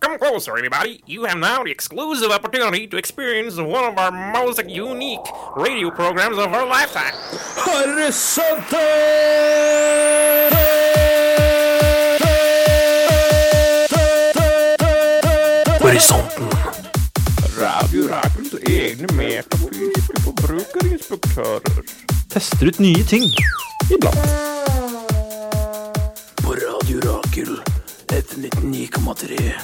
closer, everybody. You have now the exclusive opportunity to experience one of our most unique radio programs of our lifetime. Horisonten. Tester ut nye ting. På Radio Rakel. FM 99,3.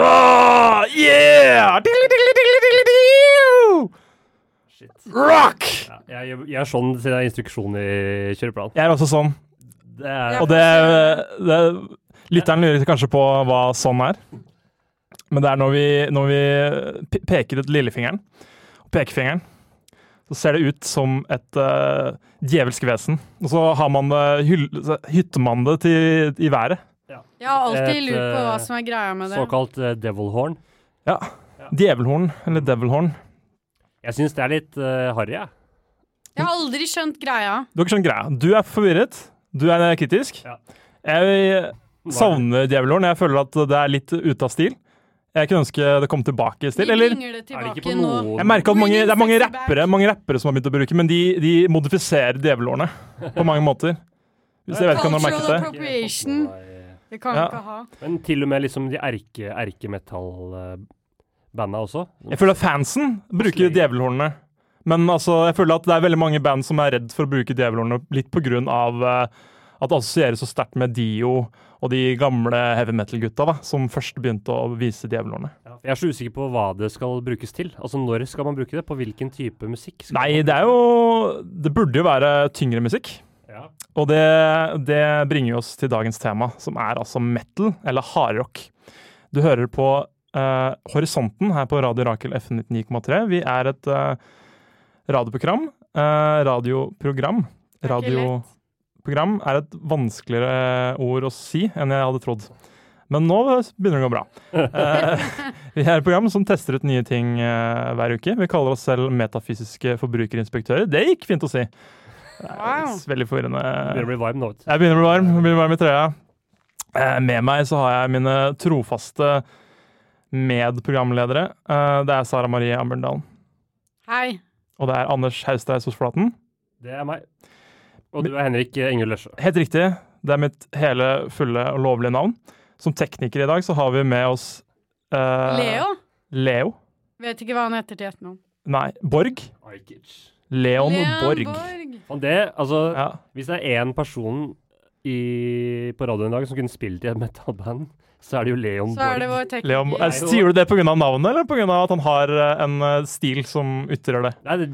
Ah, yeah! Rock! Jeg, gjør- jeg er sånn til det er instruksjon i kjøreplanen. Jeg er også sånn. Det er, Og det, det Lytteren lurer kanskje på hva sånn er. Men det er når vi, når vi pe- peker ut lillefingeren og pekefingeren, så ser det ut som et eh, djevelsk vesen. Og så har man det, hyll, så hytter man det til, i været. Jeg har alltid Et, lurt på hva eh, som er greia med det. såkalt eh, devil horn. Ja. Djevelhorn, eller devilhorn. Jeg syns det er litt uh, harry, jeg. Jeg har aldri skjønt greia. Du har ikke skjønt greia. Du er forvirret. Du er kritisk. Ja. Jeg Hva er savner djevelhorn. Jeg føler at det er litt ute av stil. Jeg kunne ønske det kom tilbake i Vi stil. Eller bringer Er det det tilbake ikke på nå. noe jeg merker at mange, det er mange Bringing sexy back. rappere, mange rappere som har begynt å bruke, men de, de modifiserer djevelhårene på mange måter. Hvis jeg vet ikke om du har merket Cultural det. appropriation. Det kan vi Ja. ikke ha. Men til og med liksom de erke, erkemetallbanda også. Jeg føler at fansen bruker djevelhårene. Men altså, jeg føler at det er veldig mange band som er redd for å bruke djevelhårene litt på grunn av eh, at det assosieres så sterkt med Dio og de gamle heavy metal-gutta da, som først begynte å vise djevelhårene. Jeg er så usikker på hva det skal brukes til. Altså når skal man bruke det? På hvilken type musikk? Skal Nei, det er jo Det burde jo være tyngre musikk. ja. Og det, det bringer oss til dagens tema, som er altså metal, eller hardrock. Du hører på eh, Horisonten her på Radio Rakel FN 99,3. Vi er et eh, radioprogram. Eh, radioprogram. er ikke lett. Radioprogram er et vanskeligere ord å si enn jeg hadde trodd. Men nå begynner det å gå bra. Eh, vi er et program som tester ut nye ting eh, hver uke. Vi kaller oss selv metafysiske forbrukerinspektører. Det gikk fint å si. Wow. Veldig forvirrende. Begynner å bli varm nå, vet du. Jeg begynner å bli varm, jeg begynner å bli varm i trøya. Eh, Med meg så har jeg mine trofaste medprogramledere. Eh, Det er Sara Marie Amberndalen, Hei. og det er Anders Haustreis Osflaten. Det er meg. Og du er Henrik Engel Løsjø. Helt riktig, det er mitt hele, fulle og lovlige navn. Som tekniker i dag så har vi med oss eh, Leo? Leo. Vet ikke hva han heter til etternavn. Nei, Borg. Leon, Borg. Og det, altså Ja. Hvis det er én person i, på radioen i dag som kunne spilt i et metalband, så er det jo Leon Så er det Borg. vår Leon, tekniker. eh, sier du det pga. navnet, eller pga. at han har eh, en eh, stil som ytrer det? Nei, det,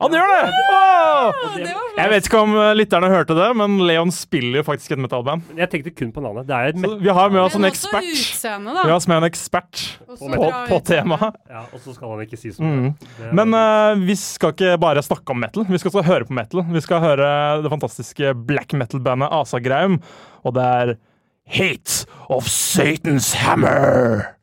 Han gjør det! Åh! Å, det var flott. Jeg vet ikke om eh, lytterne hørte det, men Leon spiller jo faktisk i et metalband. men jeg tenkte kun på navnet. Det er et Så met vi har med oss en Men også ekspert. utseendet, Vi da. har med en ekspert Også på, bra på utseende. temaet. ja, Og så skal han ikke si så mye. Mm. Men eh, vi skal ikke bare snakke om metal, vi skal også høre på metal. Vi skal høre det fantastiske black metal-bandet Asa Graum, og det er Hate of Satan's Hammer.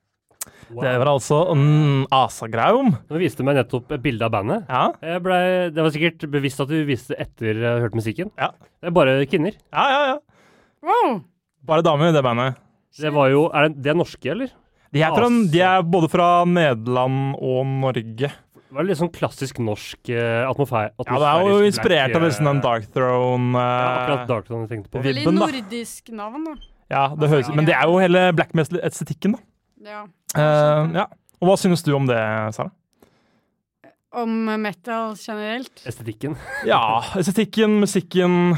Det var altså mm, Asa Graum. Nå viste du meg nettopp et bilde av bandet. Ja. Jeg ble, det var sikkert bevisst at du viste etter jeg hørte musikken. Ja. Det er bare kvinner. ja, ja, ja. Wow. Bare damer i det bandet. Det var jo Er det, det er norske, eller? De er, fra, Asa. de er både fra Nederland og Norge. Det var litt sånn klassisk norsk eh, atmosfæ- atmosfærisk Ja, det er jo inspirert black, av liksom den eh, Dark Throne eh, Ja, akkurat Dark Throne jeg tenkte på. Veldig Vibben, da. nordisk navn, da. Ja, det høres Men det er jo hele black metal-estetikken, da. Ja. Eh, ja. Og hva synes du om det, Sara? Om metal generelt. Estetikken. Ja, estetikken, musikken,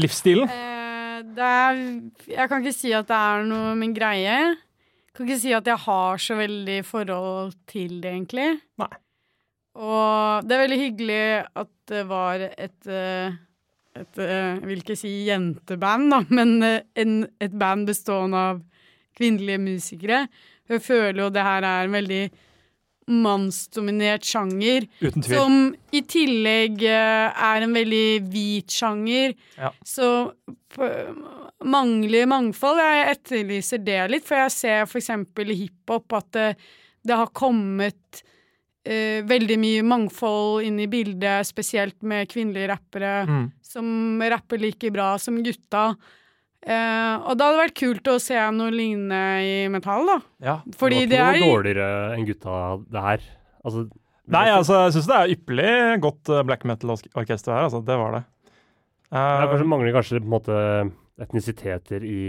livsstilen. Eh, det er Jeg kan ikke si at det er noe min greie. Kan ikke si at jeg har så veldig forhold til det, egentlig. Nei. Og det er veldig hyggelig at det var et eh, et, eh, Jeg vil ikke si jenteband, da, men eh, en, et band bestående av kvinnelige musikere. Jeg føler jo det her er en veldig mannsdominert sjanger. Uten tvil. Som i tillegg eh, er en veldig hvit sjanger. Ja. Så p- mangler mangfold. Jeg etterlyser det litt, for jeg ser f.eks. i hiphop at det, det har eh, kommet eh, veldig mye mangfold inn i bildet, spesielt med kvinnelige rappere Mm. som rapper like bra som gutta. Eh, og det hadde vært kult å se noe lignende i metall, da. Ja. Fordi det det var er ikke noe dårligere enn gutta det her. Altså, Nei, altså, jeg syns det er ypperlig godt eh, black metal-orkester her, altså. Det var det. Eh, Det er kanskje mangler kanskje på en måte etnisiteter i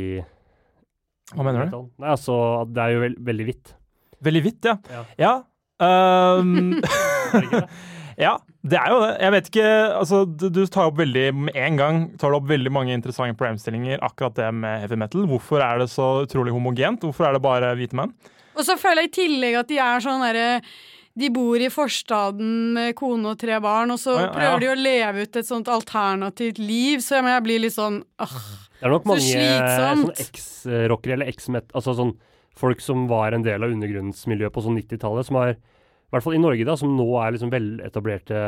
hva mener du? metal. Nei, altså, at det er jo vel- veldig hvitt. Veldig hvitt, ja. Ja. Ja. ehm, Er det ikke det? ja, det er jo det. Jeg vet ikke Altså, du, du tar opp veldig Med en gang tar du opp veldig mange interessante problemstillinger, akkurat det med heavy metal. Hvorfor er det så utrolig homogent? Hvorfor er det bare hvite menn? Og så føler jeg i tillegg at de er sånn derre De bor i forstaden med kone og tre barn, og så Å, ja, ja. prøver de å leve ut et sånt alternativt liv, så jeg, men jeg blir litt sånn åh. Det er nok Så mange slitsomt. sånn eks-rockere eller eks-met... Altså sånn folk som var en del av undergrunnsmiljøet på sånn 90-tallet, som har I hvert fall i Norge, da, som nå er liksom veletablerte,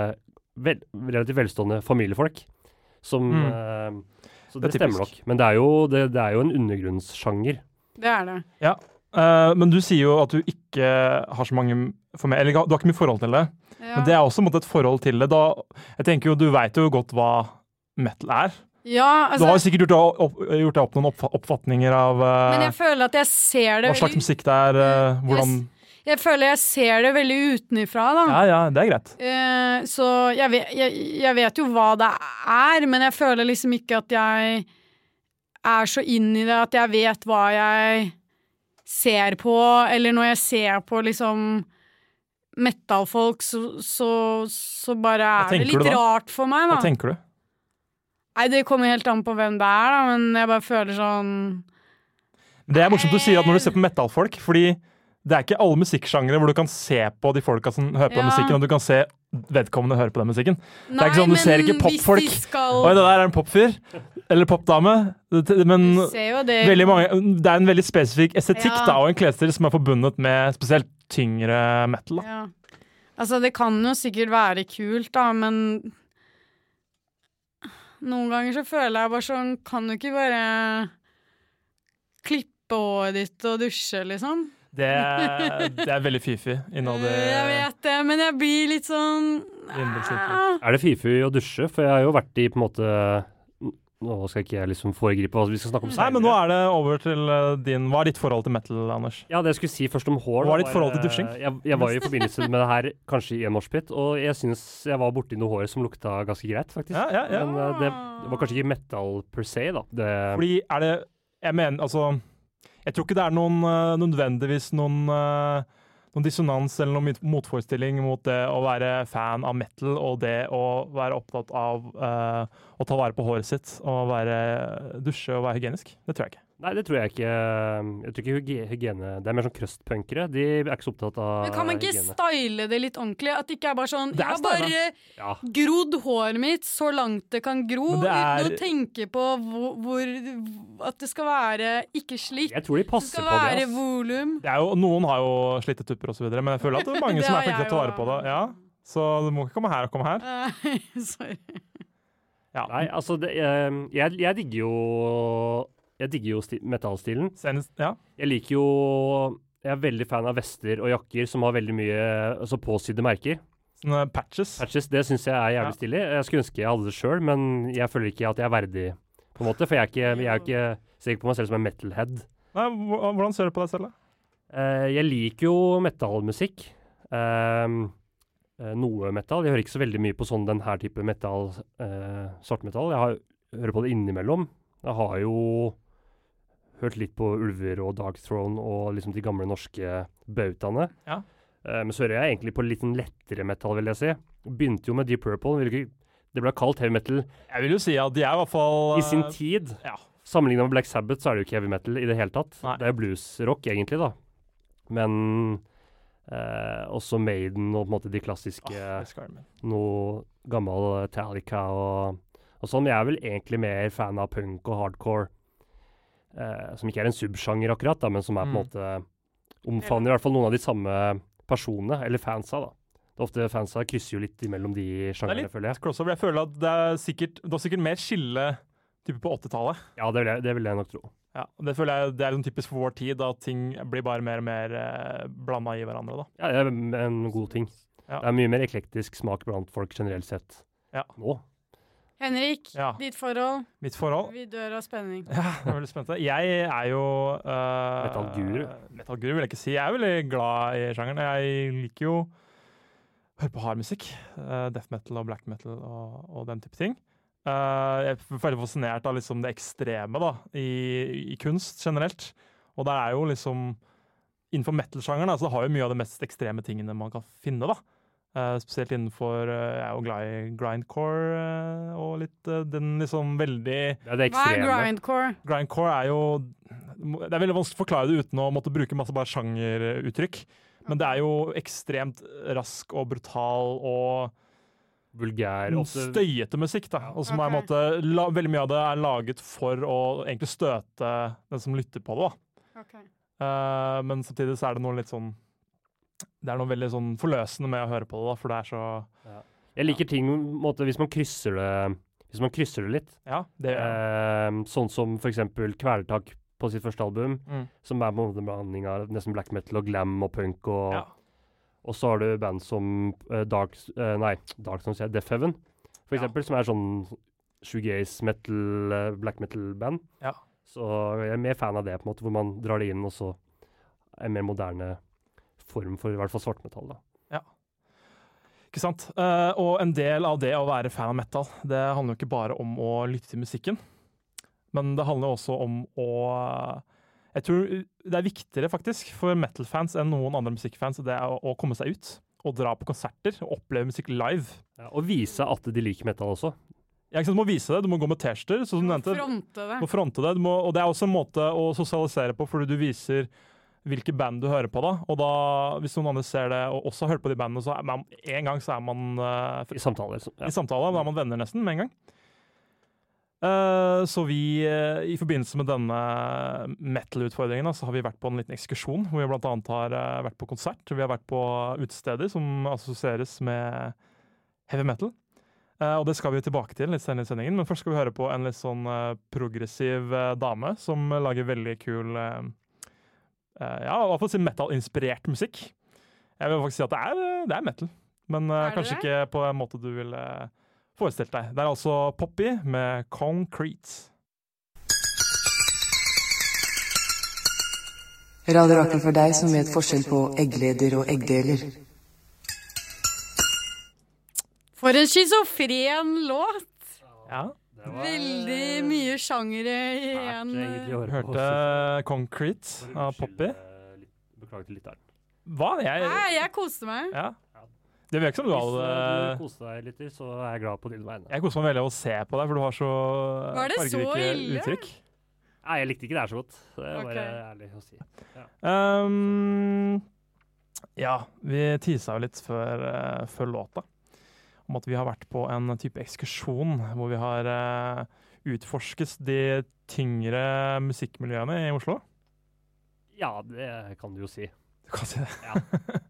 vel, relativt velstående familiefolk. Som eh, Så det, Mm. Det er stemmer nok. typisk. Men det er jo, det, det er jo en undergrunnssjanger. Det er det. Eh, men du sier jo at du ikke har så mange for meg, Eller du har ikke mye forhold til det. Ja. Men det er også på en måte, et forhold til det. Da, jeg tenker jo, Du veit jo godt hva metal er. ja, du har jo altså, sikkert gjort deg opp, gjort deg opp noen oppfa- oppfatninger av eh, men jeg føler at jeg ser det hva slags veldig, Mm. musikk det er. eh, hvordan Jeg føler jeg ser det veldig utenifra, da. Ja, ja, det er greit. Eh, så jeg vet, jeg, jeg vet jo hva det er, men jeg føler liksom ikke at jeg er så inn i det at jeg vet hva jeg ser på, eller når jeg ser på liksom metalfolk, så, så, så bare er det tenker litt du da? rart for meg, Hva da. tenker du? Nei, det kommer helt an på hvem det er, da, men jeg bare føler sånn Det er morsomt du sier at når du ser på metallfolk, fordi det er ikke alle musikksjangere hvor du kan se på de folka som hører på den Ja. musikken, og du kan se vedkommende hører på den musikken. Nei, ikke sånn, du ser ikke men hvis de popfolk. skal- Oi, det der er en popfyr. Eller popdame. Det- det- Men Du ser jo det. veldig mange, det er en veldig spesifikk estetikk Ja. da, og en klesstil som er forbundet med spesielt tyngre metal. Da. Ja. Altså, det kan jo sikkert være kult, da, men Noen ganger så føler jeg bare sånn Kan du ikke bare klippe håret ditt og dusje, liksom? Det, det er veldig fifi innad Jeg i vet det, men jeg blir litt sånn ah. Innbruddssykdom. Er det fifi å dusje? For jeg har jo vært i på en måte Nå skal ikke jeg liksom foregripe hva vi skal snakke om Nei, men nå er det over til eh, din Hva er ditt forhold til metal, Anders? Ja, det jeg skulle si først om hår Hva da, er ditt forhold til eh, dusjing? Jeg, jeg var jo i forbindelse med det her kanskje i en moshpit, og jeg syns jeg var borti noe hår som lukta ganske greit, faktisk. Ja, ja, ja. Men eh, det, det var kanskje ikke metal per se, da. Det, Fordi er det Jeg mener, altså Jeg tror ikke det er noen øh, nødvendigvis noen øh, noen dissonans eller noen mit- motforestilling mot det å være fan av metal og det å være opptatt av øh, å ta vare på håret sitt og være, dusje og være hygienisk. Det tror jeg ikke. nei, det tror jeg ikke. Jeg tror ikke hygie- hygiene Det er mer sånn crustpunkere. De er ikke så opptatt av Men kan man ikke Ah, hygiene. style det litt ordentlig? At det ikke er bare sånn Det er Jeg har styla. bare Ja. grodd håret mitt så langt det kan gro, Men det uten er- å tenke på hvor, hvor At det skal være ikke slikt. Jeg tror de Det passer skal på det. være ass. volum. Det er jo, noen har jo slitte tupper osv., men jeg føler at det er mange Det som har er flinke til å ta jeg jo. vare på det. Ja, så du må ikke komme her og komme her. Eh, Sorry. Ja. Nei, altså det, jeg, jeg, jeg digger jo Jeg digger jo sti, metallstilen. Senest, ja. Jeg liker jo Jeg er veldig fan av vester og jakker som har veldig mye altså påsydde merker. Sånne patches. Patches, det syns jeg er Ja. jævlig stilig. Jeg skulle ønske jeg hadde det sjøl, men jeg føler ikke at jeg er verdig, på en måte. For jeg er ikke, jeg er ikke ser ikke på meg selv som en metalhead. Nei, hv- hvordan ser du på deg selv, da? Eh, jeg liker jo metalmusikk. Ehm, eh, noe metal. Jeg hører ikke så veldig mye på sånn den her type metal, eh, svartmetall. Jeg har, hører på det innimellom. Jeg har jo hørt litt på Ulver og Dark Throne og liksom de gamle norske bautaene. Ja. Eh, men så hører jeg egentlig på litt sånn lettere metal, vil jeg si. Begynte jo med Deep Purple. vil ikke- Det ble kalt heavy metal Jeg vil jo si at de er i hvert fall i sin øh, tid. Ja. Sammenligna med Black Sabbath så er det jo ikke heavy metal i det hele tatt. Nei. Det er jo bluesrock, egentlig, da. Men eh, også Maiden og på en måte de klassiske Åh, Ah, jeg skal være med. Noe gammel eh, Talica og, og sånn. Jeg er vel egentlig mer fan av punk og hardcore. eh, som ikke er en subsjanger, akkurat, da, men som er på en Mm. måte omfavner i hvert fall noen av de samme personene, eller fansa, da. Det er ofte fansa krysser jo litt imellom de Det er sjangerne, litt føler jeg. crossover. Jeg føler at det er sikkert, det var sikkert mer skille type på 80-tallet. Ja, det vil jeg, det vil jeg nok tro. Ja, og det føler jeg det er sånn typisk for vår tid, at ting blir bare mer og mer eh, blanda i hverandre. da. Ja, det er en god ting. Ja. Det er mye mer eklektisk smak blant folk generelt sett. Ja. Nå. Henrik, Ja. ditt forhold. Mitt forhold Vi dør av spenning. ja, jeg er veldig spent. Jeg er jo uh, Metallguru. Metallguru vil jeg ikke si. Jeg er veldig glad i sjangeren. Jeg liker jo å høre på hard musikk. eh, death metal og black metal og, og den type ting. Eh, jeg er veldig fascinert av liksom det ekstreme da, i, i kunst generelt. Og der er jo liksom Innenfor metal-sjangeren da, så har jo mye av de mest ekstreme tingene man kan finne. da. Eh, spesielt innenfor eh, Jeg er jo glad i grindcore eh, og litt eh, den liksom veldig Det er det Hva er ekstreme. grindcore? Grindcore er jo Det er veldig vanskelig å forklare det uten å måtte bruke masse bare sjangeruttrykk. Men det er jo ekstremt rask og brutal og Vulgær. Ofte, støyete musikk. da. Og som er en Ok. måte, la, veldig mye av det er laget for å egentlig støte den som lytter på det. da. Ok. Eh, men samtidig så er det noe litt sånn Det er noe veldig sånn forløsende med å høre på det, da, for det er så jeg liker ting på en måte, hvis man krysser det Hvis man krysser det litt. Ja, det Ehm, sånn som for eksempel Kvelertak på sitt første album, Mm. som er på en måte en blanding av nesten black metal og glam og punk. Og, Ja. og så har du band som eh, Dark eh, Nei, Dark som sier Death Heaven, for Ja. eksempel, som er sånn shoegaze metal, eh, black metal-band. Ja. Så jeg er mer fan av det, på en måte, hvor man drar det inn, og så en mer moderne form for i hvert fall svartmetall. da. Ikke sant? Eh, og en del av det å være fan av metal, det handler jo ikke bare om å lytte til musikken, men det handler også om å eh, Jeg tror det er viktigere faktisk for metal-fans enn noen andre musikkfans det er å, å komme seg ut og dra på konserter og oppleve musikk live. Ja, og vise at de liker metal også. Ja, ikke sant? Du må vise det, du må gå med T-skjorter, sånn som du nevnte. Fronte det. Du må fronte det. Du må, og det er også en måte å sosialisere på, fordi du viser hvilke band du hører på da. Og da, hvis noen andre ser det og også hører på de bandene, så er man en gang så er man eh, I samtaler. så- Ja. i samtale. Da er man venner nesten med en gang. Eh, så vi, eh, i forbindelse med denne metal-utfordringen, da, så har vi vært på en liten ekskursjon. Hvor vi blant annet har eh, vært på konsert. Vi har vært på utesteder som assosieres med heavy metal. Eh, og det skal vi tilbake til litt senere i sendingen, men først skal vi høre på en litt sånn eh, progressiv eh, dame som lager veldig kul eh, eh, Ja, i hvert fall si metal-inspirert musikk. Jeg vil faktisk si at det er, eh, det er metal, men eh, Er det kanskje det? ikke på en måte du ville forestilt deg. Det er altså Poppy med Concrete. Radio Rakel for deg som vet forskjell på eggleder og eggdeler. For en schizofren låt! Ja. Veldig mye sjangere i Fælt, en egentlig, å høre på. Hørte Concrete av Poppy. Unnskyld, eh, litt- Beklager til lytteren. Hva? Jeg Nei, jeg koste meg. Ja. Det virker som du Hvis eh, hadde du koste deg litt, så er jeg glad på dine vegne. Jeg koser meg veldig av å se på deg, for du har så Var det så ille? uttrykk. Nei, jeg likte ikke det her så godt. Det er Ok. bare ærlig å si. Ehm, ja, vi tisa jo litt før, eh, før låta om at vi har vært på en type ekskursjon hvor vi har eh, utforsket de tyngre musikkmiljøene i Oslo. Ja, det kan du jo si. Jeg Du kan si det.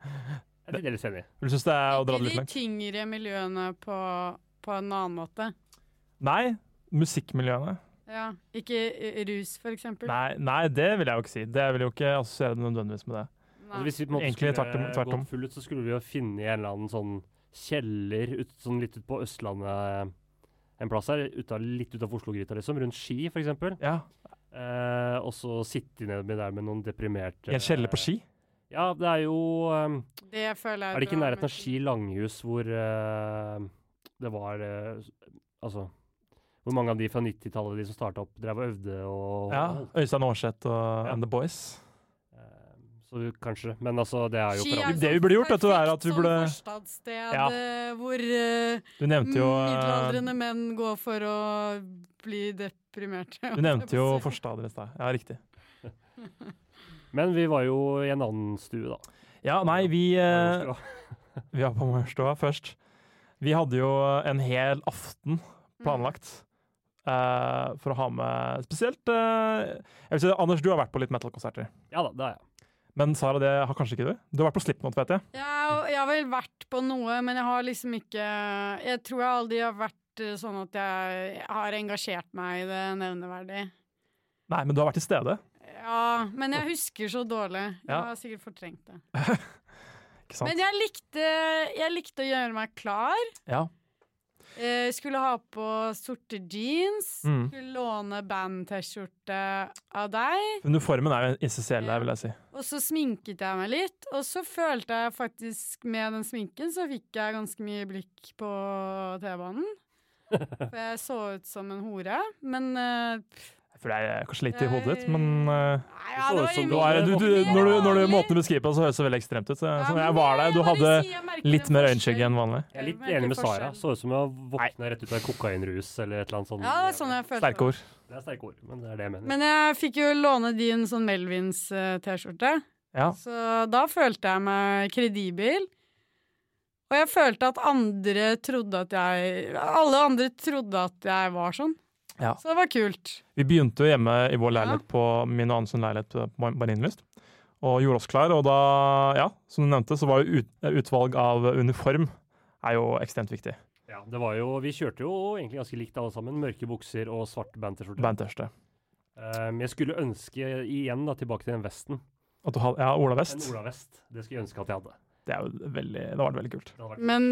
er fremdeles enig. Du syns det er å dra Ikke det litt de langt? tyngre miljøene på, på en annen måte. Nei, musikkmiljøene. Ja, ikke eh, rus, for eksempel. Nei, nei, det vil jeg jo ikke si. Det vil jo ikke assosiere det nødvendigvis med det. Altså, Nei. hvis vi på en måte Egentlig skulle tvert om- tvert om. gått full ut, så skulle vi jo finne en eller annen sånn kjeller ut, sånn litt ut på Østlandet eh, en plass her, ut av, litt ut av Oslo-gryta, liksom. Rundt Ski, for eksempel. Ja, Eh, og så sitte ned med der med noen deprimerte I en kjeller på Ski. Ja, det er jo eh, Det føler jeg Er det ikke i bra, nærheten men- av Ski langhus hvor eh, det var eh, s- Altså Hvor mange av de fra 90-tallet de som starta opp, drev og øvde og Ja, holdt, Øystein Aarseth og Ja. And The Boys. eh, Så du- kanskje. Men altså, det er jo Ski for er alle. Det vi burde gjort, vet du, er perfekt at vi sånn burde- forstadssted Ja. eh, hvor eh, Du nevnte jo eh, middelaldrende menn går for å bli deprimerte. Du nevnte jo forstader i stad. Ja, riktig. Men vi var jo i en annen stue, da. Ja, nei, vi, eh, Majorstua. vi var på Majorstua først. Vi hadde jo en hel aften Mm. planlagt eh, for å ha med spesielt eh, jeg vil si, Anders, du har vært på litt metal-konserter. Ja da, det er jeg. Men Sara, det har kanskje ikke du? Du har vært på Slipknot, vet jeg. Jeg, har- jeg har vel vært på noe, men jeg har liksom ikke Jeg tror jeg aldri har vært eh, sånn at jeg har engasjert meg i det nevneverdig. Nei, men du har vært til stede. Ja, men jeg husker så dårlig. Jeg Ja. har sikkert fortrengt det. Ikke Ikke sant? Men jeg likte, jeg likte å gjøre meg klar. Ja. Eh, skulle ha på sorte jeans. Mm. Skulle låne band-T-skjorte av deg. Uniformen er jo essensiell her, vil jeg si. Og så sminket jeg meg litt. Og så følte jeg faktisk med den sminken så fikk jeg ganske mye blikk på T-banen. For jeg så ut som en hore. Men eh, For det er kanskje litt i hodet ditt, men eh, nei, ja, så det ut var som du mye- er, du, du, når, du, når du Vanlig. måten du beskriver på, så høres det veldig ekstremt ut. Så, Ja, så men jeg var der. Du jeg bare hadde sier jeg merker litt en mer forskjell. øynskygge enn vanlig. Jeg er litt merker enig med Sara. forskjell. Så ut som jeg våkna rett ut av kokainrus eller et eller annet sånt. Ja, det var sånn jeg følte. Sterke ord. Det er sterke ord, men det er det jeg mener. Men jeg fikk jo låne din sånn Melvins eh, T-skjorte. Ja. Så da følte jeg meg kredibel. Og jeg følte at andre trodde at jeg Alle andre trodde at jeg var sånn. Ja. Så det var kult. Vi begynte jo hjemme i vår leilighet på min og Anders sin leilighet på Mar- Marienlyst. Og gjorde oss klar, og da, ja, som du nevnte, så var jo ut, utvalg av uniform er jo ekstremt viktig. ja, det var jo, vi kjørte jo egentlig ganske likt alle sammen. Mørke bukser og svart band-T-skjorte. Bandtørste. Ehm, jeg skulle ønske igjen da, tilbake til den vesten. At du hadde, ja, Ola En Vest. olavest. Det skulle jeg ønske at jeg hadde. Det er jo veldig, da var det veldig kult. Det hadde vært Men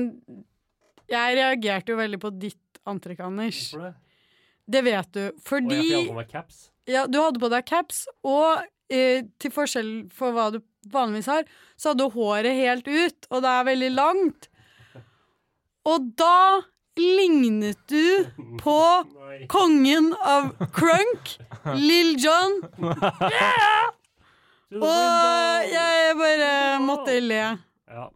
jeg reagerte jo veldig på ditt antrekk, Anders. Hvorfor det? Det vet du. Og jeg Fordi hadde på meg caps. ja, du hadde på deg caps, og eh, til forskjell for hva du vanligvis har, så hadde du håret helt ut, og det er veldig langt. Og da lignet du på Nei. kongen av crunk, Lill John, og jeg bare måtte le. Ja.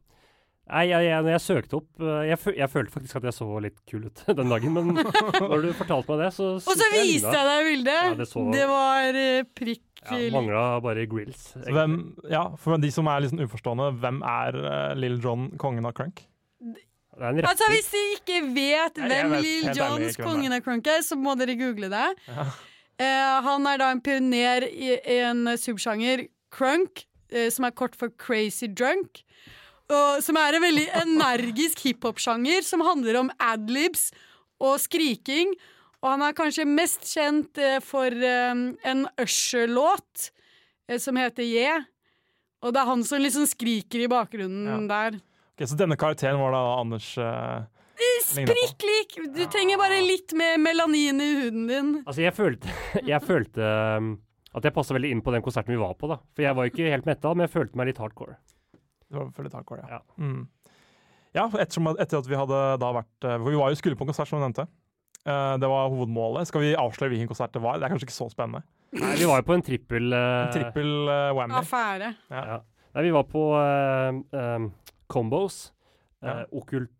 Nei, jeg, jeg, når jeg søkte opp eh, jeg, føl, jeg følte faktisk at jeg så litt kul ut den dagen, men når du fortalte meg det, så Og så viste jeg deg Ja, bildet. det så- Det var eh, prikk Ja, Mangla bare grills. Så Hvem, ja, for de som er litt sånn uforstående, hvem er uh, Lill John, kongen av crunk? Det er en rapper. Altså Hvis dere ikke vet Nei, jeg hvem vet Lill helt ærlig Johns ikke hvem kongen det av crunk er, så må dere google det. Eh, han er da en pioner i en subsjanger, crunk, eh, som er kort for crazy drunk. Og, som er en veldig energisk hiphop-sjanger som handler om adlibs og skriking. Og han er kanskje mest kjent eh, for eh, en Usher-låt eh, som heter Yeah. Og det er han som liksom skriker i bakgrunnen der. Ok, så denne karakteren var da Anders eh, lignet på. Prikk lik! Du trenger bare litt mer melanin i huden din. Altså, jeg følte, jeg følte um, at jeg passa veldig inn på den konserten vi var på, da. For jeg var jo ikke helt metta, men jeg følte meg litt hardcore. Det var for litt hardcore, ja. Ja. Mm. Ja, ettersom, at- etter at vi hadde da vært eh, For vi var jo skulle på en konsert, som du nevnte. Eh, det var hovedmålet. Skal vi avsløre hvilken konsert det var? Det er kanskje ikke så spennende. Nei, vi var jo på en trippel eh, En trippel eh, Ah, whammy. Affære. Ja. Nei, vi var på eh, um, Combos, eh, Ja. Okkult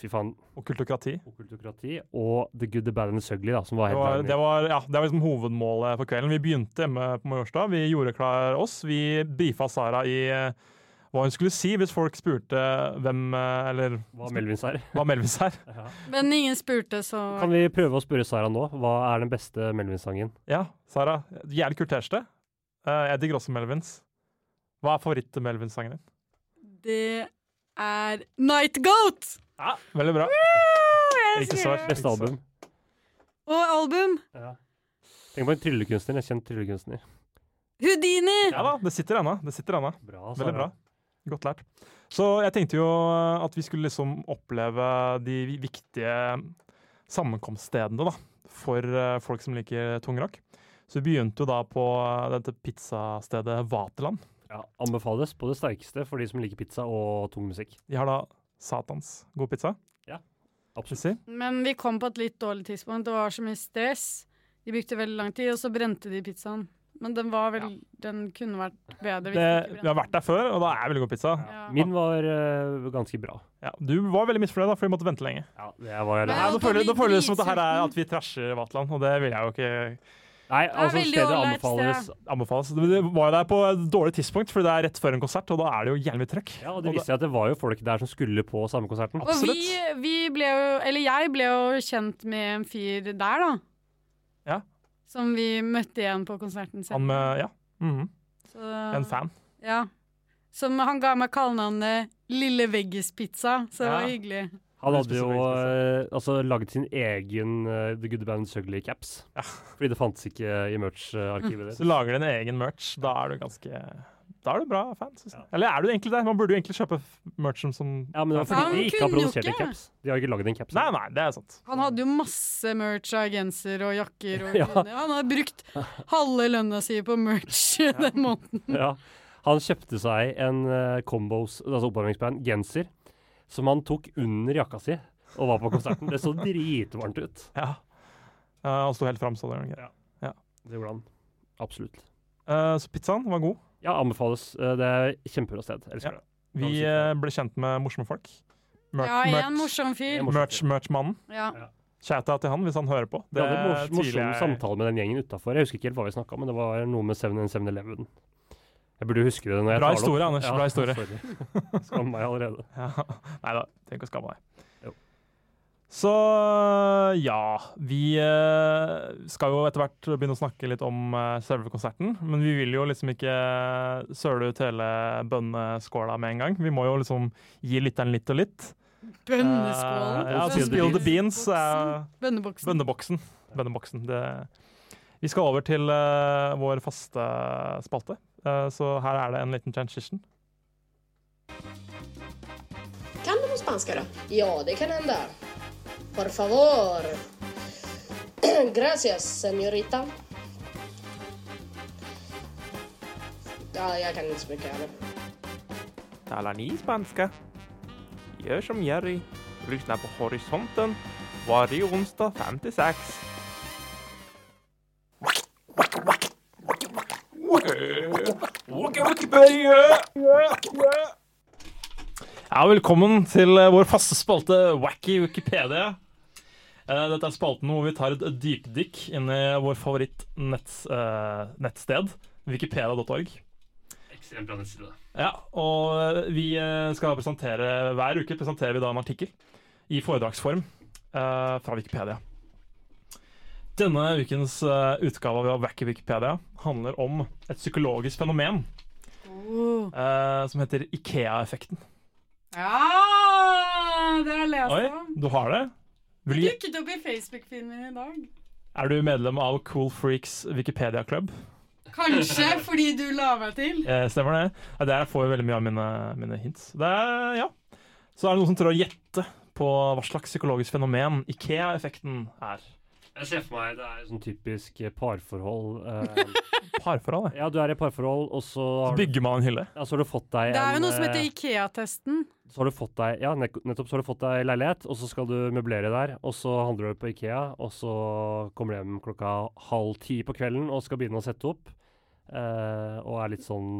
Fy faen. Og kultokrati. Okkultokrati og The Good, The Bad and The Sugly, da, som var Det helt var, vanlig. det, var, ja, det var liksom hovedmålet for kvelden. Vi begynte hjemme på Majorstua. Vi gjorde klar oss. Vi brifa Sara i eh, hva hun skulle si hvis folk spurte hvem eh, Eller Hva Melvins er. hva Melvis er. Men ingen spurte, så Kan vi prøve å spørre Sara nå? Hva er den beste Melvin-sangen? Ja, Sara. Jævlig kult kjæreste. Eh, jeg digger også Melvins. Hva er favoritt-Melvins-sangen din? Det er Night Goat! Veldig bra. Woo! Jeg Ikke elsker svar. det. Beste album? Og album Tenk på en tryllekunstner. En kjent tryllekunstner. Houdini! Ja da, det sitter ennå. Det sitter ennå. Bra, Sara. Veldig bra. Godt lært. Så jeg tenkte jo at vi skulle liksom oppleve de vi- viktige sammenkomststedene da, for eh, folk som liker tungrock. Så vi begynte jo da på eh, dette pizzastedet Vaterland. Ja, anbefales på det sterkeste for de som liker pizza og tung musikk. De har da satans god pizza. skal vi Absolutt. Si. Men vi kom på et litt dårlig tidspunkt. Det var så mye stress. De brukte veldig lang tid, og så brente de pizzaen. Men den var vel Den kunne vært bedre. Hvis Det, den ikke vi har brente. vært der før, og da er det veldig god pizza. Ja. Min var eh, ganske bra. Ja, du var veldig misfornøyd da, for vi måtte vente lenge. Ja, det var Men- Nei, og nå da føler blir nå føler det som at det her er dritsulten. at vi trasher Vaterland, og det vil jeg jo ikke Nei, altså, veldig stedet ålreit anbefales. sted. anbefales. Det var jo der på et dårlig tidspunkt, for det er rett før en konsert, og da er det jo jævlig trøkk. Ja, og det viste seg at det var jo folk der som skulle på samme konserten. Og vi, vi ble jo Eller jeg ble jo kjent med en fyr der, da. Ja. Som vi møtte igjen på Han konserten sin. med, ja. Mhm. Så- En fan. Ja. Som han ga meg kallenavnet Lille Veggispizza, så det Ja. var Han hyggelig. Det er hadde jo spesielt eh, altså, lagd sin egen eh, The Good Band Sugly caps. Fordi det fantes ikke i merch-arkivet Så deres. lager de en egen merch. Da er du ganske Da er du bra fan. Synes jeg. Eller er du egentlig det? Man burde jo egentlig kjøpe f- merch som- som Ja, men det var Ja, fordi men de ikke har kunne jo produsert en ikke. caps. De har ikke lagd en caps. Nei, nei, det er sant. Han hadde jo masse merch av genser og jakker. Og Ja. klær. Han har brukt halve lønna si på merch den måneden. Ja. Han kjøpte seg en eh, combos, altså oppvarmingsband, genser, som han tok under jakka si og var på konserten. Det så dritvarmt ut. Ja. Eh, og sto helt fram, så det gjorde han ikke. Det gjorde han. Absolutt. Eh, så pizzaen var god. Ja, anbefales. Eh, Det er kjempebra sted. Ja. Elsker det. Vi eh, ble kjent med morsomme folk. Mer- Ja, merch- en morsom fyr. En morsom merch- Merch-mannen. Ja. Shout-out til han hvis han hører på. Vi hadde en mors- tviler morsom jeg- samtale med den gjengen utafor. Jeg husker ikke helt hva vi snakka om, men det var noe med 7 11 Jeg burde huske det når jeg Bra tar det opp. historie, Anders, bra historie. sorry. Skam meg allerede. Ja. Nei da, trenger ikke å skamme Jo. deg. Så ja, vi eh, skal jo etter hvert begynne å snakke litt om eh, selve konserten. Men vi vil jo liksom ikke søle ut hele bønneskåla med en gang. Vi må jo liksom gi lytteren litt og litt. Bønneskålen. Eh, ja, altså, så spill the beans. eh, Bønneboksen. er- Bønneboksen. Bønneboksen. Bønneboksen. Det. Vi skal over til eh, vår faste spalte, Eh, så her er det en liten transition. Kan du på spanska då? Ja, det kan hända. Por favor. Gracias, señorita. Ja, jag kan inte så mycket heller. Talar ni spanska? Gör som Jerry. Lyssna på Horisonten varje onsdag 5 till 6. Ja, velkommen til eh, vår faste spalte Wacky Wikipedia. Eh, Dette er spalten hvor vi tar et dypdykk inn i vår eh, favorittnettsted, wikipedia.org. Ekstremt bra nettside. Ja, og eh, vi eh, skal presentere, hver uke presenterer vi da en artikkel i foredragsform eh, fra Wikipedia. Denne ukens eh, utgave av Wacky Wikipedia handler om et psykologisk fenomen Oh. eh, som heter Ikea-effekten. Ja! Det har jeg Oi, lest om. du har det? Vil du- Dukket opp i Facebook-filmen i dag. Er du medlem av Cool Freaks Wikipedia-klubb? Kanskje fordi du la meg til. Eh, stemmer det? Ja, der får jeg veldig mye av mine, mine hints. Det er, ja. Så er det noen som tror å gjette på hva slags psykologisk fenomen IKEA-effekten er. Jeg ser for meg det er sånn typisk eh, parforhold. eh, Parforhold, det. ja, du er i parforhold, og så Så har, du- bygger man en hylle. ja, så har du fått deg Det er jo noe som eh, heter Ikea-testen. Så har du fått deg Ja, nett- nettopp så har du fått deg leilighet, og så skal du møblere der. Og så handler du på Ikea, og så kommer du hjem klokka halv ti på kvelden og skal begynne å sette opp. eh, og er litt sånn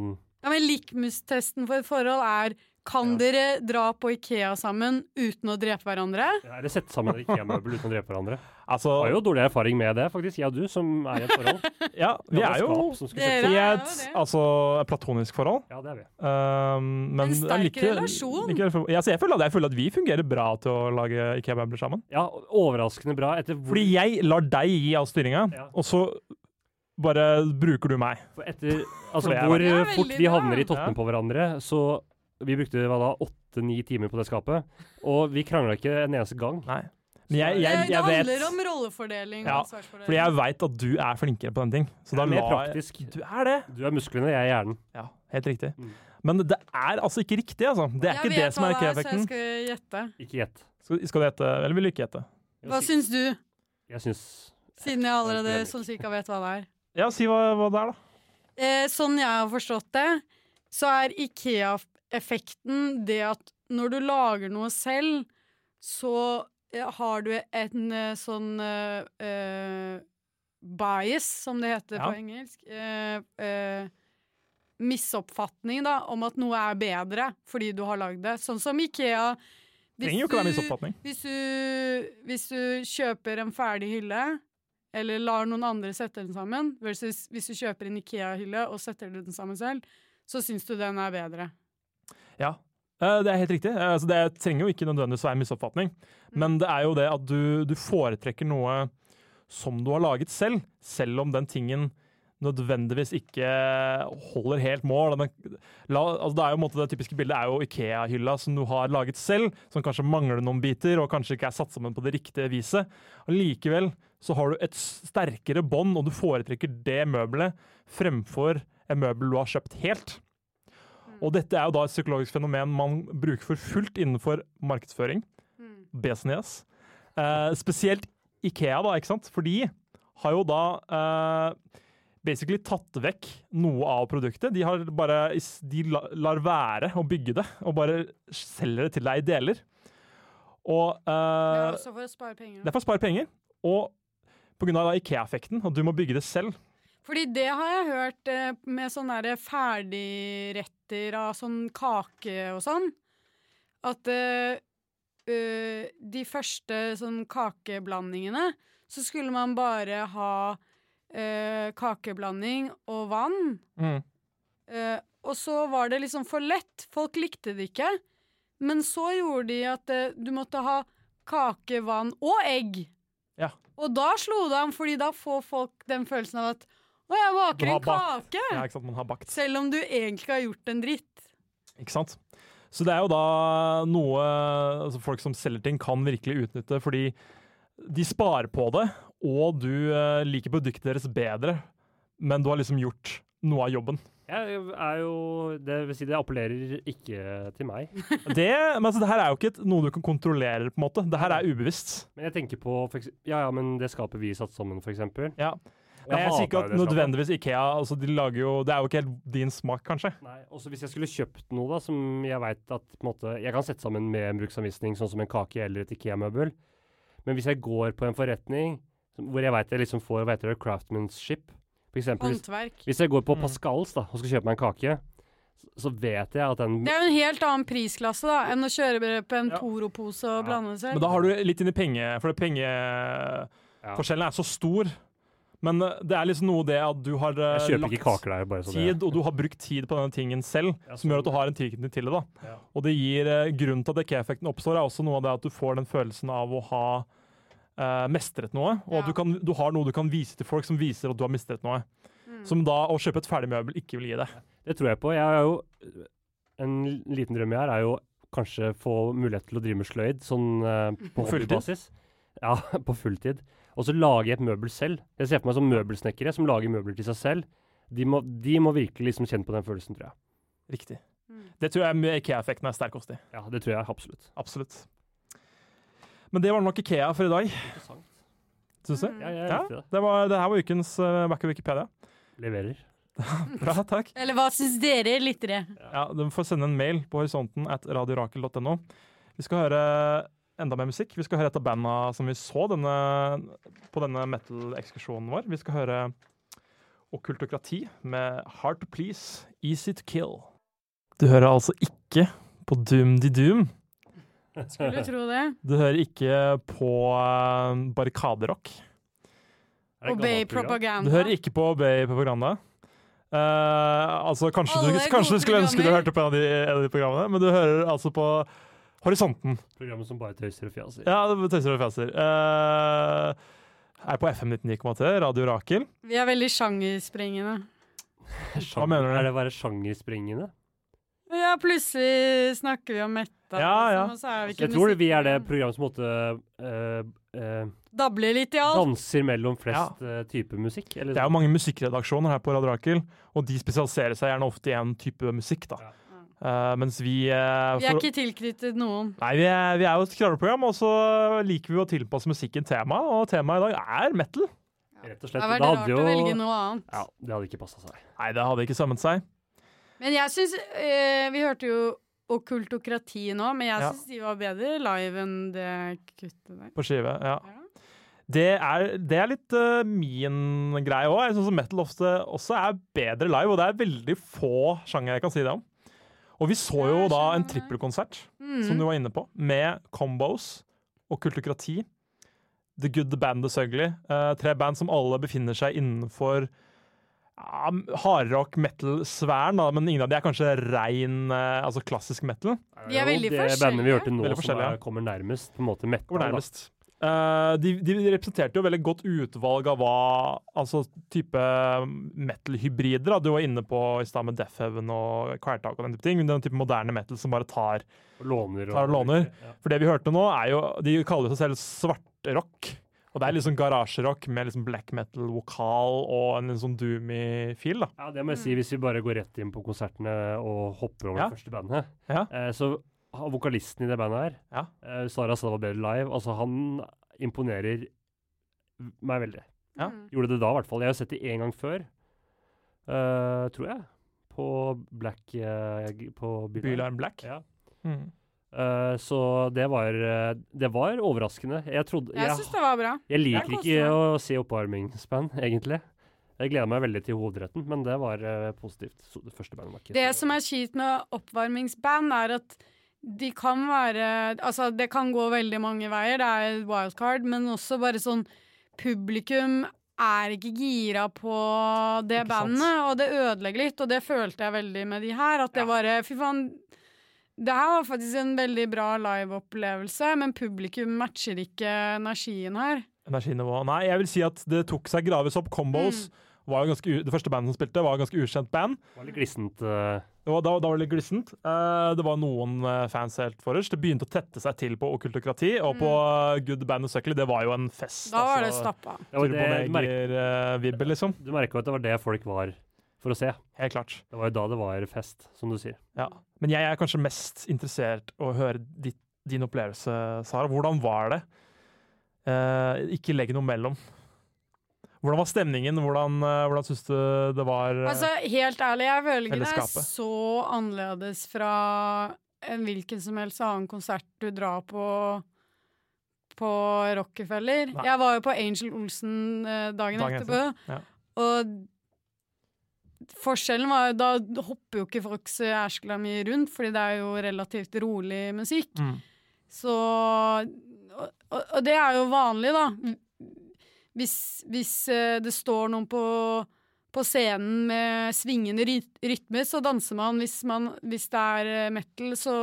Ja, men Likmustesten for et forhold er kan Ja. dere dra på Ikea sammen uten å drepe hverandre? ja, Eller sette sammen et Ikea-møbel uten å drepe hverandre. Altså, Har jo dårlig erfaring med det, faktisk, jeg og du, som er i et forhold. ja, Vi vi hadde er jo skap som skulle Dere settes- i Ja, et det er jo det. altså, et platonisk forhold. Ja, det er vi. Um, men En sterk like- relasjon. Like, ja, så jeg, føler at, jeg føler at vi fungerer bra til å lage IKEA-møbler sammen. Ja, overraskende bra. Etter, hvor- Fordi jeg lar deg gi all styringa, Ja. og så bare bruker du meg. For etter, altså det er hvor veldig- Ja, fort veldig vi bra. havner i toppen på hverandre, så vi brukte hva da, åtte-ni timer på det skapet, og vi krangla ikke en eneste gang. Nei. Men jeg, Det, jeg, det jeg handler vet om rollefordeling. Ja, og ansvarsfordeling. Fordi jeg veit at du er flinkere på den ting. Så Det da er mer la jeg praktisk. Du er det! Du er musklene, jeg er hjernen. Ja, helt riktig. Mm. Men det er altså ikke riktig, altså. Det er Jeg ikke vet det som hva er så Jeg IKEA-effekten. skal gjette. Ikke gjett. Skal, skal du gjette, eller vil du ikke gjette? Hva syns du, Jeg syns siden jeg allerede Jeg vet ikke. sånn cirka vet hva det er? Ja, si hva, hva det er, da. Eh, sånn jeg har forstått det, så er Ikea-effekten det at når du lager noe selv, så eh, har du en eh, sånn eh, eh, bias, som det heter Ja. på engelsk. Eh, eh, misoppfatning, da, om at noe er bedre fordi du har lagd det. Sånn som Ikea. Det trenger jo ikke være du- misoppfatning. hvis du, hvis du kjøper en ferdig hylle, eller lar noen andre sette den sammen, versus hvis du kjøper en Ikea-hylle og setter den sammen selv, så syns du den er bedre. Ja. Eh, Det er helt riktig. Eh, Altså, det trenger jo ikke nødvendigvis være en misoppfatning. Men det er jo det at du, du foretrekker noe som du har laget selv, selv om den tingen nødvendigvis ikke holder helt mål. Den, la, altså det, er jo, på en måte, det typiske bildet er jo Ikea-hylla som du har laget selv, som kanskje mangler noen biter og kanskje ikke er satt sammen på det riktige viset. Allikevel så har du et sterkere bånd, og du foretrekker det møbelet fremfor et møbel du har kjøpt helt. Og dette er jo da et psykologisk fenomen man bruker for fullt innenfor markedsføring. Business. Eh, spesielt Ikea, da, ikke sant? For de har jo da eh, basically tatt vekk noe av produktet. De, har bare, de la- lar være å bygge det, og bare selger det til deg i deler. Og Det eh, er også for å spare penger. det er for å spare penger, og pga. Ikea-effekten, at du må bygge det selv. Fordi det har jeg hørt eh, med sånne der ferdigretter av sånn kake og sånn, at eh, eh, de første sånn kakeblandingene, så skulle man bare ha eh, kakeblanding og vann. Mm. Eh, og så var det liksom for lett, folk likte det ikke. Men så gjorde de at eh, du måtte ha kake, vann og egg. Ja. Og da slo det an, fordi da får folk den følelsen av at å, jeg Du baker har en bakt. kake! Ja, ikke sant? Man har bakt. Selv om du egentlig har gjort en dritt. Ikke sant? Så det er jo da noe altså folk som selger ting, kan virkelig utnytte, fordi de sparer på det, og du eh, liker produktet deres bedre, men du har liksom gjort noe av jobben. Jeg er jo Det vil si, det appellerer ikke til meg. Det, men altså, det her er jo ikke et, noe du kan kontrollere, på en måte. Det her er ubevisst. Men jeg tenker på for ekse- Ja ja, men det skapet vi satt sammen, for eksempel. Ja. Jeg Men jeg hater sier ikke jo at det skapet. nødvendigvis Ikea altså, de lager jo, Det er jo ikke helt din smak, kanskje. Nei, også hvis jeg skulle kjøpt noe da, som jeg vet at på en måte, jeg kan sette sammen med en bruksanvisning, sånn som en kake eller et IKEA-møbel. Men hvis jeg går på en forretning som- hvor jeg vet jeg liksom får hva heter det, craftsmanship for eksempel, hvis, Håndverk. hvis jeg går på Pascals da, og skal kjøpe meg en kake, så, så vet jeg at den Det er jo en helt annen prisklasse da, enn å kjøre bare på en Ja. Toro-pose og blande Men selv. da har du litt inn i penge, for det pengeforskjellen er så stor. Men eh, det er liksom noe det at du har eh, Jeg kjøper lagt ikke kaker der, bare så det tid, og du har brukt tid på denne tingen selv, Ja, som sånn. gjør at du har en tilknytning til det. da. Og det gir eh, grunnen til at IKEA-effekten oppstår, er også noe av det at du får den følelsen av å ha eh, mestret noe, og at Ja. du, kan, du har noe du kan vise til folk som viser at du har mestret noe. Som da å kjøpe et ferdig møbel ikke vil gi deg. Det tror jeg på. Jeg er jo, en liten drøm jeg har, er jo kanskje få mulighet til å drive med sløyd sånn eh, på fulltid? hobbybasis. Ja, på fulltid. Og så lage et møbel selv. Jeg ser for meg som møbelsnekkere som lager møbler til seg selv. De må, de må virkelig liksom kjenne på den følelsen, tror jeg. Riktig. Det tror jeg IKEA-effekten er sterk hos de. Ja, det tror jeg absolutt. Absolutt. Men det var nok IKEA for i dag, Interessant. syns du? Ja, jeg Ja, likte det. det, var, det her var ukens uh, Back of Wikipedia. Leverer. Bra, takk. Eller hva syns dere, lyttere? Ja, Du får sende en mail på horisonten at radiorakel.no. Vi skal høre enda mer musikk. Vi skal høre et av banda som vi så denne, på denne metal-ekskursjonen vår. Vi skal høre Okkultokrati med Hard to Please, Easy to Kill. Du hører altså ikke på Doom de Doom. Skulle du tro det? Du hører ikke på eh, Barrikaderock. Er det Obey gammelt program? Du propaganda. hører ikke på Bay på programmet. Eh, altså, kanskje du, Alle gode kanskje du skulle ønske du programmer. hørte på en av, de, en av de programmene, men du hører altså på Horisonten. Programmet som bare tøyser og fjaser. Ja, det tøyser og fjaser. Eh, er på FM 99,3, Radio Rakel. Vi er veldig sjangersprengende. Sjanger- mener du? Er det å være sjangerspringende? Ja, plutselig snakker vi om metal, Ja, ja. liksom, og så er vi Altså, ikke Jeg tror musikk- vi er det programmet som på en måte eh, eh, Dabler litt i alt. danser mellom flest eh, typer musikk. Eller Det er jo mange musikkredaksjoner her på Radio Rakel, og de spesialiserer seg gjerne ofte i en type musikk, da. Eh, mens vi eh, Vi er for- ikke tilknyttet noen. Nei, vi er, vi er jo et kravleprogram, og så liker vi å tilpasse musikken temaet, og temaet i dag er metal. rett og Det slett. hadde Det vært rart hadde jo å velge noe annet. Ja, det hadde ikke passa seg. Nei, det hadde ikke sømmet seg. Men jeg syns eh, Vi hørte jo okkultokrati nå, men jeg Ja. syns de var bedre live enn det kuttet der. På skive, ja. Det er, det er litt eh, min greie òg. Jeg syns metal ofte også er bedre live, og det er veldig få sjangere jeg kan si det om. Og vi så jo Jeg da en skjønner. Mm. trippelkonsert, som du var inne på, med Combos og Kultokrati. The Good, The Band, The Sugly. eh, tre band som alle befinner seg innenfor ja, hardrock metal-sfæren, da, men ingen av de er kanskje rein eh, altså klassisk metal. De er Jo, veldig Det bandet vi forskjellige. hørte nå Veldig som forskjellige, er, ja. kommer nærmest, på en måte metal. da. Kommer nærmest. Eh, de, de representerte jo veldig godt utvalg av hva Altså type um, metal-hybrider. da. Du var inne på i stad med Death Heaven og Quertak og den type ting. men Den type moderne metal som bare tar Og Låner. Tar og låner. Ja. For det vi hørte nå, er jo De kaller seg selv svartrock. Og det er liksom garasjerock med liksom black metal-vokal og en litt sånn doomy feel, da. Ja, det må jeg Mm. si, hvis vi bare går rett inn på konsertene og hopper over Ja. det første bandet. Ja. Eh, så ha- vokalisten i det bandet her, Ja. eh, Sara Stava Bedre Live, altså han imponerer meg veldig. Ja. Mm. Gjorde det da, i hvert fall. Jeg har sett det én gang før, eh, tror jeg. På Black eh, g- På Bylarm Black. Ja. Mm. Eh, så det var eh, Det var overraskende. Jeg trodde Jeg Jeg, syns det var bra. jeg jeg liker koste ikke å se oppvarmingsband, egentlig. Jeg gleder meg veldig til hovedretten, men det var eh, positivt. Så det første bandet var ikke Det så- som er kjipt med oppvarmingsband, er at de kan være Altså, det kan gå veldig mange veier, det er et wildcard, men også bare sånn Publikum er ikke gira på det Ikke sant. bandet, og det ødelegger litt, og det følte jeg veldig med de her, at det bare Fy faen. Det her var faktisk en veldig bra liveopplevelse, men publikum matcher ikke energien her. Energinivå. Nei, jeg vil si at det tok seg gradvis opp. Combos Mm. var jo ganske u Det første bandet som spilte, var et ganske ukjent band. Det var litt glissent. eh, Det var, da, da var det litt glissent. Eh, det var noen eh, fans helt forrest. Det begynte å tette seg til på okkultokrati, og på eh, Good Band of Suckle, det var jo en fest. Mm. Da var det altså. stappa. det var det, du, merker, Turboneger-vibbe, liksom. du merker jo at det var det folk var for å se. Helt klart. Det var jo da det var fest, som du sier. Ja. Men jeg er kanskje mest interessert å høre ditt, din opplevelse, Sara. Hvordan var det? Eh, ikke legg noe mellom. Hvordan var stemningen? Hvordan, eh, hvordan syns du det var? eh, Altså, helt ærlig, jeg føler ikke det er Fellesskapet. så annerledes fra en hvilken som helst annen konsert du drar på på Rockefeller. Nei. Jeg var jo på Angel Olsen eh, dagen, Dagen etterpå, ja. og forskjellen var jo Da hopper jo ikke folk så jæskla mye rundt, fordi det er jo relativt rolig musikk. Mm. Så og, og og det er jo vanlig, da. Hvis, hvis eh, det står noen på, på scenen med svingende ryt- rytme, så danser man. Hvis, man. hvis det er eh, metal, så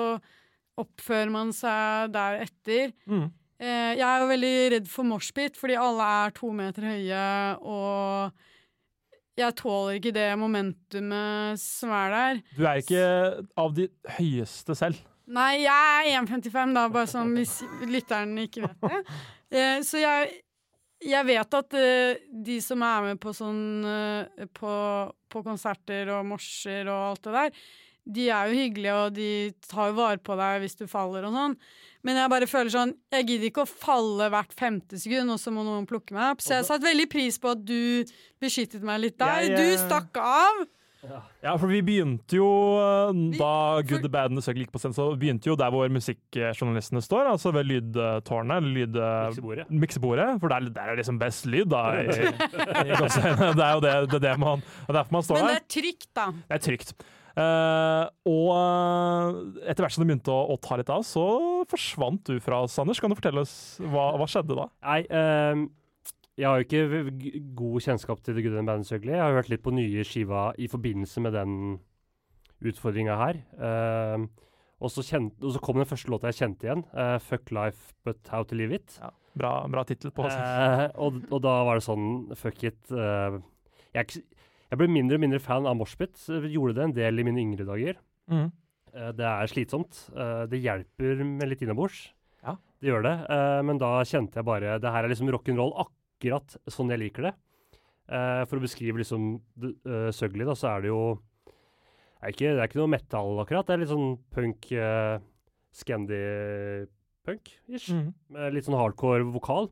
oppfører man seg deretter. Mm. Eh, Jeg er jo veldig redd for moshpit, fordi alle er to meter høye, og jeg tåler ikke det momentumet som er der. Du er ikke av de høyeste selv. Nei, jeg er 1,55 da, bare sånn hvis lytteren ikke vet det. Eh, så jeg, jeg vet at eh, de som er med på sånn eh, på, på konserter og morser og alt det der, de er jo hyggelige, og de tar jo vare på deg hvis du faller og sånn. Men jeg bare føler sånn Jeg gidder ikke å falle hvert femte sekund, og så må noen plukke meg opp. Så jeg satte veldig pris på at du beskyttet meg litt der. Jeg, eh, Du stakk av. Ja, for vi begynte jo eh, da for- Good the Bad and the Suckle gikk på scenen, så begynte jo der hvor musikkjournalistene står, altså ved lydtårnet, eller lyd... eh, Miksebordet. Miksebordet, for der, der er liksom best lyd, da. I, i gåseøyne. det er jo det, det, er det man, det er derfor man står Men det der. er trygt, da. Det er trygt. Eh, og eh, etter hvert som det begynte å, å ta litt av, så forsvant du fra oss, Anders. Kan du fortelle oss hva, hva skjedde da? Nei, ehm, jeg har jo ikke v- g- god kjennskap til The Good and Bad and Ugly. Jeg har hørt litt på nye skiva i forbindelse med den utfordringa her. Ehm, og, så kjen- og så kom den første låta jeg kjente igjen, eh, 'Fuck Life But How To Live It'. Bra, bra tittel på Eh, og, og da var det sånn Fuck it. eh, jeg, er ikke s- jeg ble mindre og mindre fan av moshpit. så jeg Gjorde det en del i mine yngre dager. Mm. Eh, Det er slitsomt. Eh, Det hjelper med litt innabords. Ja. Det gjør det. Eh, Men da kjente jeg bare Det her er liksom rock'n'roll akkurat sånn jeg liker det. Eh, For å beskrive liksom Søgli, da, så er det jo det er ikke, det er ikke noe metal akkurat. Det er litt sånn punk eh, Scandy-punk-ish. Mm. Med litt sånn hardcore vokal.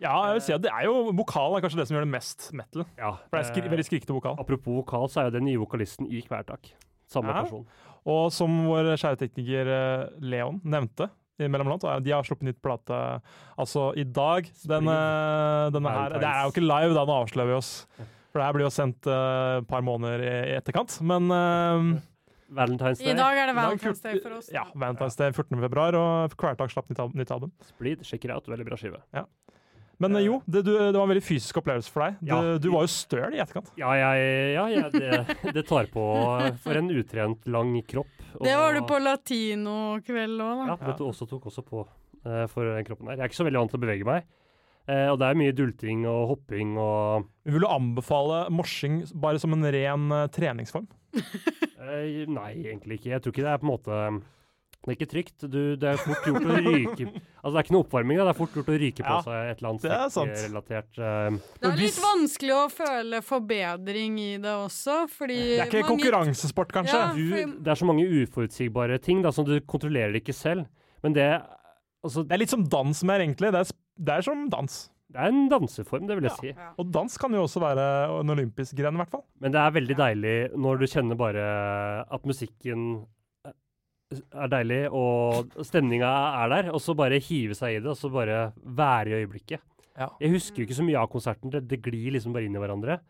Ja, jeg vil si at det er jo vokal er kanskje det som gjør det mest metal. Ja, For det er skri eh, veldig skrikete vokal. Apropos vokal, så er jo den nye vokalisten i Kvelertak. Samme Ja. person. Og som vår kjære tekniker eh, Leon nevnte, i mellomland, så er- de har sluppet nytt plate altså i dag. Denne, denne her, det er jo ikke live, da, nå avslører vi oss. For det her blir jo sendt eh, et par måneder i i etterkant. Men eh, Valentine's Day, I dag er det i dag Valentine's Day fjorten- for oss. Ja, Valentine's Day 14. februar, og Kvelertak slapp nytt, al- nytt album. Spleed, check it out. Veldig bra skive. Men eh, jo, det, du, det var en veldig fysisk opplevelse for deg. Du, Ja. du var jo støl i etterkant. Ja, ja, ja, ja det, det tar på for en utrent, lang kropp. og- Det var du på latinokveld òg, da. Ja, det to- også tok også på eh, for den kroppen der. Jeg er ikke så veldig vant til å bevege meg. Eh, og det er mye dulting og hopping og Vi ville anbefale morsing bare som en ren eh, treningsform. eh, Nei, egentlig ikke. Jeg tror ikke det er på en måte Det er ikke trygt. Du, det er fort gjort å ryke Altså, det er ikke noe oppvarming, da. Det er fort gjort å ryke på Ja, seg et eller annet det er sant. strekkrelatert eh, Det er Men litt hvis- vanskelig å føle forbedring i det også, fordi Det er ikke mange- konkurransesport, kanskje? Ja. du, Det er så mange uforutsigbare ting da, som du kontrollerer ikke selv. Men det Altså, Det er litt som dans mer, egentlig. Det er, sp- det er som dans. det er en danseform, det vil jeg si. Og dans kan jo også være en olympisk gren, i hvert fall. Men det er veldig deilig når du kjenner bare at musikken eh, er deilig, og stemninga er der, og så bare hive seg i det, og så bare være i øyeblikket. Ja. Jeg husker jo ikke så mye av konserten, det, det glir liksom bare inn i hverandre.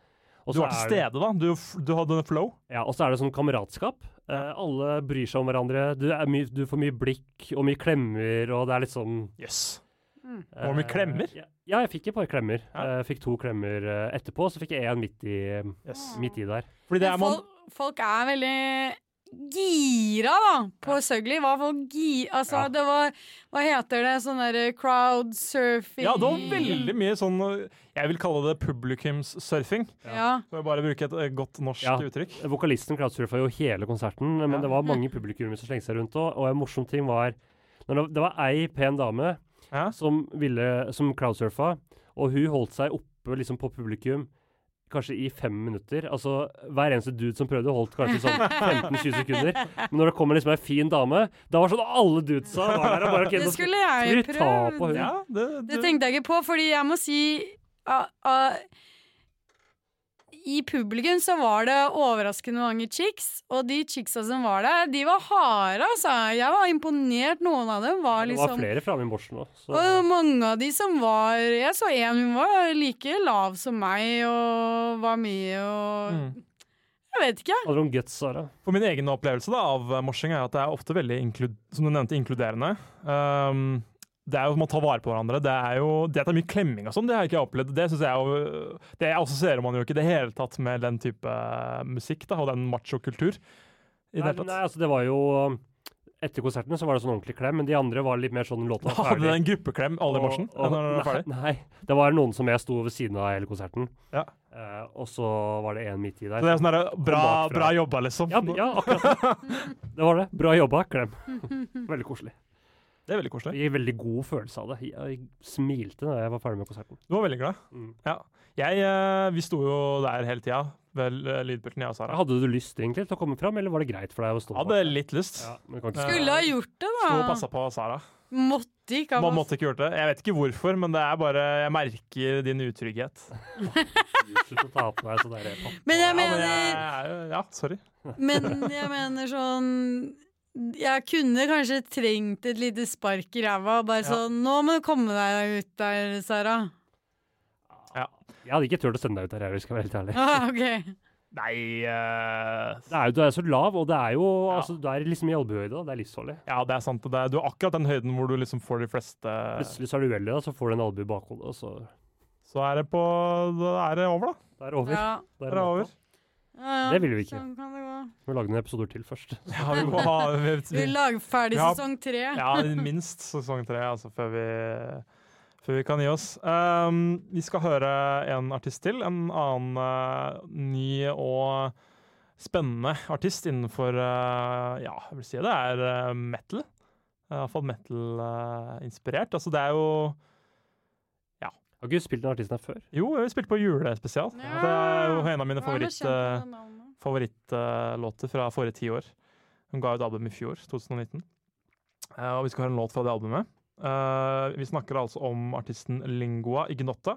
Og Du så var til er det- stede, da. Du, f- du hadde flow. Ja, og så er det sånn kameratskap. Eh, alle bryr seg om hverandre. Du, er mye- du får mye blikk og mye klemmer, og det er litt sånn Jøss. eh, Var det mye klemmer? Ja, ja, jeg fikk et par klemmer. Ja. Eh, fikk to klemmer eh, etterpå, så fikk jeg én midt i, Yes. midt i der. Fordi det er Men man folk, folk er veldig gira, da, på Søgli. Var folk gi... Altså, Ja. det var Hva heter det? Sånn derre crowdsurfing Ja, det var veldig mye sånn Jeg vil kalle det publikumssurfing. Ja. For å bare bruke et eh, godt norsk Ja. uttrykk. Vokalisten crowdsurfa jo hele konserten, men Ja. det var Mm. mange publikummere som slengte seg rundt òg. Og en morsom ting var når det, det var ei pen dame Ja. som, ville, som crowdsurfa, og hun holdt seg oppe liksom, på publikum kanskje i fem minutter. Altså, hver eneste dude som prøvde, holdt kanskje sånn 15-20 sekunder. Men når det kommer liksom ei en fin dame, da var sånn alle dudesa var der og bare ok, Det nå skal skulle jeg vi ta på hun. prøvd. Ja, det, Det tenkte jeg ikke på, fordi jeg må si ah, ah, I publikum så var det overraskende mange chicks, og de chicksa som var der, de var harde, altså. Jeg var imponert. Noen av dem var Det var liksom flere framme i morsen òg, så og mange av de som var Jeg så en hun var like lav som meg og var med og Mm. Jeg vet ikke. Handler om guts, Sara. For min egen opplevelse da, av eh, morsing er at det er ofte veldig inklud som du nevnte, inkluderende. Um, det er jo om å ta vare på hverandre. Det er jo det at det er mye klemming og sånn, det har jeg ikke opplevd. Det synes jeg jo, det assosierer man jo ikke i det hele tatt med den type musikk da, og den machokultur. Nei, I det hele men tatt. nei, altså, det var jo Etter konsertene så var det sånn ordentlig klem, men de andre var litt mer sånn låta Da var hadde det ferdig. en gruppeklem alle i morsen. Og- og- Når den var ferdig. Nei, nei, det var noen som jeg sto ved siden av hele konserten. Ja. Eh, og så var det en midt i der. Så det er sånn der, bra, bakfra. bra jobba, liksom. Ja, ja, akkurat. Det var det. Bra jobba. Klem. Veldig koselig. Det er veldig koselig. Jeg gir veldig god følelse av det. Jeg smilte da jeg var ferdig med konserten. Du var veldig glad. Mm. Ja. Jeg, eh, vi sto jo der hele tida ved eh, lydpulten, jeg og Sara. Hadde du lyst egentlig til å komme fram, eller var det greit for deg å stå Hadde litt lyst. Ja, men du kan ikke Skulle ha gjort det, Sto og da. passa på Sara. Måtte ikke Man ha måtte ikke gjort det. Jeg vet ikke hvorfor, men det er bare Jeg merker din utrygghet. slutte å ta på deg så der pappa. Men jeg Ja, men eh, jeg mener er jo- Ja, sorry. Men jeg mener sånn Jeg kunne kanskje trengt et lite spark i ræva. Bare sånn 'Nå må du komme deg ut der, Sara'. Jeg hadde ikke turt å sende deg ut der, jeg skal være helt ærlig. Ah, ok. Nei eh, Det er jo, du er så lav, og det er jo altså, Du er liksom i albuehøyde, da. Det er livsfarlig. Ja, det er sant. Det er, du er akkurat den høyden hvor du liksom får de fleste Plutselig så er du uheldig, da, så får du en albue i bakhodet, og så Så er det på Da er det over, da. Det er over. Ja. Det Da er det over. Ja, ja. Det ville vi ikke. Sånn kan det gå. Vi må lage noen episoder til først. Ja, vi må ha vi, Vi vi, lager ferdig Ja. sesong tre. Ja, minst sesong tre, altså, før vi før vi kan gi oss. Um, vi skal høre en artist til. En annen eh, ny og spennende artist innenfor eh, Ja, jeg vil si det er eh, metal. Eh, Iallfall metal-inspirert. altså, det er jo Har ikke du spilt den artisten her før? Jo, vi spilte på julespesial. Ja. Det er jo en av mine Hva er det favoritt, eh, kjent med navnet? favorittlåter fra forrige tiår. Hun ga ut album i fjor, 2019. Eh, og vi skal høre en låt fra det albumet. Eh, vi snakker altså om artisten Lingua Ignotta.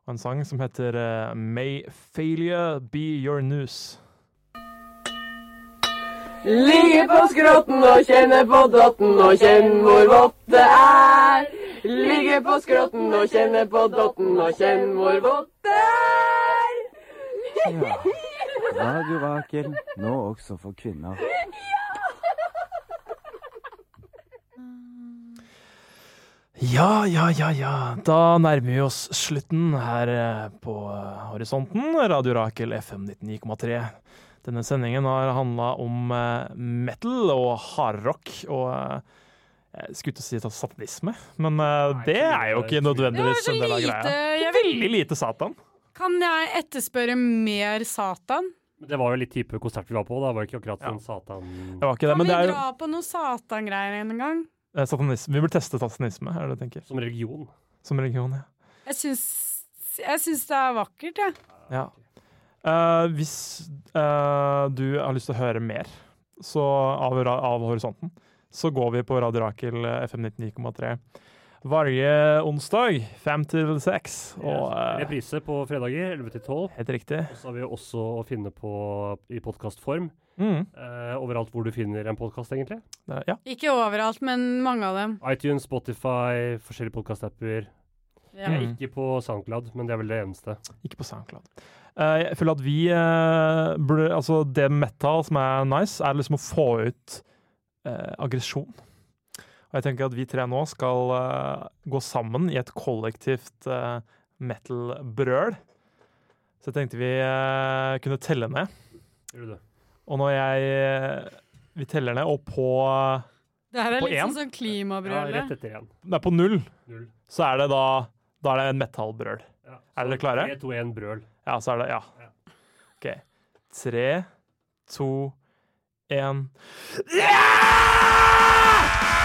Og en sang som heter eh, May failure be your news. Ligge på skrotten og kjenne på dotten og kjenn hvor vått det er. Ligge på skrotten og kjenne på dotten og kjenn hvor vått det er. Ja. Radio Rakel, nå også for kvinner. Ja, ja, ja, ja. Da nærmer vi oss slutten her eh, på eh, horisonten. Radio Rakel FM 99,3. Denne sendingen har handla om eh, metal og hardrock og eh, jeg skulle til å si satanisme, men eh, Nei, det ikke er jo det. ikke Det var nødvendigvis så en del av lite greia. jeg vil, Veldig lite Satan. Kan jeg etterspørre mer Satan? Men Det var jo litt type konsert vi var på, da. Var det ikke akkurat Ja. sånn satan... Det var ikke det, Kan men vi det er jo dra på noe satan-greier en gang? eh, satanisme. Vi burde teste satanisme, er det det du tenker? Som religion. Som religion, ja. Jeg syns, jeg syns det er vakkert, jeg. ja. Eh, hvis eh, du har lyst til å høre mer så av, ra- av Horisonten, så går vi på Radio Rakel eh, FM 99,3 hver onsdag fem til seks. Og eh, Reprise på fredager 11 til 12. helt riktig. Og så har vi jo også å finne på i podkastform. Mm, Eh, overalt hvor du finner en podkast, egentlig. det, ja. Ikke overalt, men mange av dem. iTunes, Spotify, forskjellige podkastapper. Ja. Mm. Ikke på SoundCloud, men det er vel det eneste. Ikke på SoundCloud. Eh, jeg føler at vi eh, burde Altså, det med metal som er nice, er liksom å få ut eh, aggresjon. Og jeg tenker at vi tre nå skal eh, gå sammen i et kollektivt eh, metal-brøl. Så jeg tenkte vi eh, kunne telle ned. Gjør du det? Og når jeg eh, Vi teller ned, og på Det her er På litt én? sånn som Ja, klimabrølet. rett etter igjen. Nei, på null, Null. så er det da Da er det en metal-brøl. Ja. Er dere klare? 3, 2, 1, brøl. Ja, så er det Ja. Ja. OK. Tre, to, én. Ja!